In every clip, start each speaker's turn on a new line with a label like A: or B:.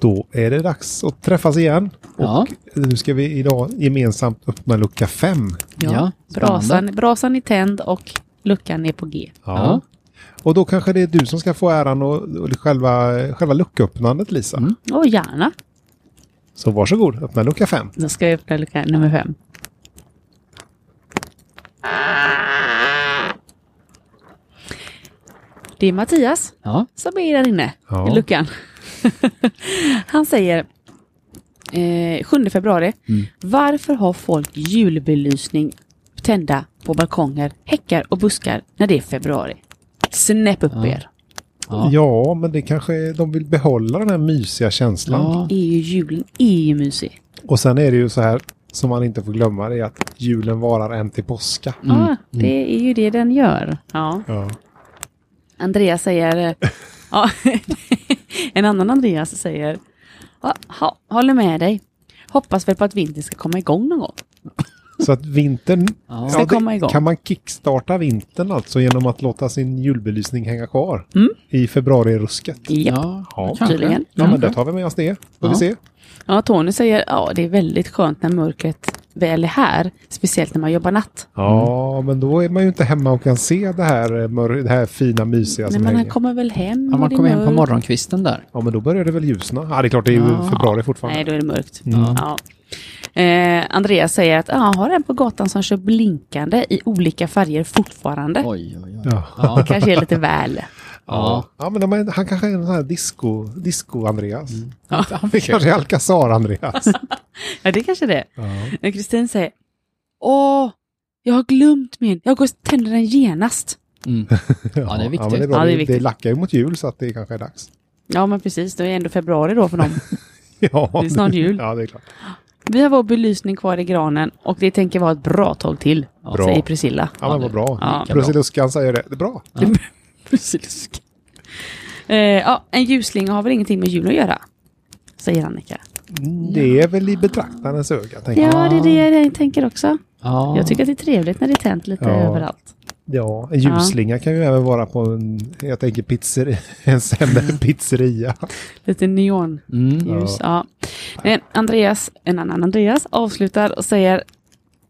A: Då är det dags att träffas igen.
B: Ja.
A: Och nu ska vi idag gemensamt öppna lucka 5.
B: Ja,
C: Ja, brasan, brasan är tänd och luckan är på G.
B: Ja.
A: Och då kanske det är du som ska få äran och, och det själva, själva lucköppnandet Lisa.
C: Och gärna.
A: Så varsågod, öppna lucka 5.
C: Då ska jag öppna lucka nummer fem. Det är Mattias
B: ja.
C: som är där inne
A: Ja.
C: i luckan. Han säger eh, 7 februari.
A: Mm.
C: Varför har folk julbelysning tända på balkonger, häckar och buskar när det är februari? Snäpp upp er.
A: Ja.
B: Ja.
A: men det kanske är- de vill behålla den här mysiga känslan.
B: ja.
C: Är ju julen är ju mysig.
A: Och sen är det ju så här som man inte får glömma det är att julen varar än till påska.
B: Mm.
C: Ja, det är ju det den gör. Ja.
A: Ja.
C: Andreas säger... eh, ja, en annan Andreas säger... Ja, ha, håller med dig. Hoppas väl på att vintern ska komma igång någon gång.
A: Så att vintern...
B: Ja.
C: Ska
A: det-
C: komma igång.
A: Kan man kickstarta vintern alltså genom att låta sin julbelysning hänga kvar i februarirusket?
C: Ja.
B: Ja,
A: Ja.
B: kanske.
C: Tydligen.
A: Ja, men då tar vi med oss det. Får vi
B: Ja.
A: se.
C: ja, Tony säger ja, det är väldigt skönt när mörkret väl är här. Speciellt när man jobbar natt.
A: Ja, men då är man ju inte hemma och kan se det här, eh, mör- det här fina mysiga
C: Nej,
A: som
C: men han
A: hänger.
C: kommer väl hem?
B: Ja,
C: och
B: man
C: det är
B: kommer hem på
C: mörkt.
B: morgonkvisten där.
A: Ja, men då börjar det väl ljusna. Ja, det är klart det är ju
B: Ja.
A: februari fortfarande.
C: Nej, då är det mörkt.
B: Mm.
C: Ja. Eh, Andreas säger att ja, har en på gatan som kör blinkande i olika färger fortfarande.
B: Oj, oj, oj.
A: Ja.
B: Ja.
C: Kanske är lite väl.
B: Ja.
A: Ja, men de är, han kanske är en sån här disco, disco-Andreas.
B: Mm. Han
A: Det kanske är Alcazar-Andreas.
C: Ja, det kanske det är.
A: ja.
C: När Kristin säger Åh, jag har glömt min. Jag går och tänder den genast.
B: Mm. Ja, det är
A: men
B: viktigt.
A: det, är bra.
C: Ja, det är
A: det, det
C: viktigt.
A: lackar ju mot jul så att det kanske är dags.
C: Ja, men precis. Det är ändå februari då för dem.
A: Ja,
C: Det är snart jul.
A: Ja, det är klart.
C: Vi har vår belysning kvar i granen och det tänker vara ett bra tag till,
A: Bra.
C: säger Priscilla.
A: Ja, men vad bra.
C: Ja,
A: Ja, Prussiluskan säger det. Det är bra.
C: Priscillusk. Eh, ja, en ljuslinga har väl ingenting med jul att göra, säger Annika.
A: Det är väl i betraktarens öga, tänker jag.
C: Mm. Ja, det är det jag tänker också.
B: Ja.
C: Jag tycker att det är trevligt när det är tänt lite
A: Ja.
C: överallt.
A: Ja, en ljusslinga kan ju även vara på en, jag tänker pizzeria, en
C: Mm.
A: sämre pizzeria.
C: Lite neon.
B: Mm.
C: ljus. Ja. Men Andreas, en annan Andreas avslutar och säger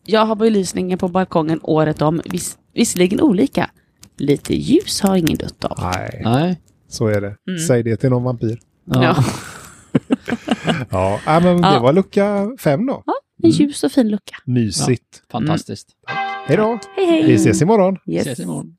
C: Jag har belysningen på balkongen året om, vis- visserligen olika. Lite ljus har ingen dött av.
A: Nej,
B: Nej.
A: så är det.
C: Mm.
A: Säg det till någon vampir.
B: Ja. Mm.
C: Ja.
A: Ja, ja men det
C: Ja.
A: var lucka fem då.
C: En ljus och fin lucka.
A: Mysigt.
B: Fantastiskt.
A: Hej då!
C: Hej hej!
A: Vi ses imorgon.
C: Yes.
B: Ses imorgon.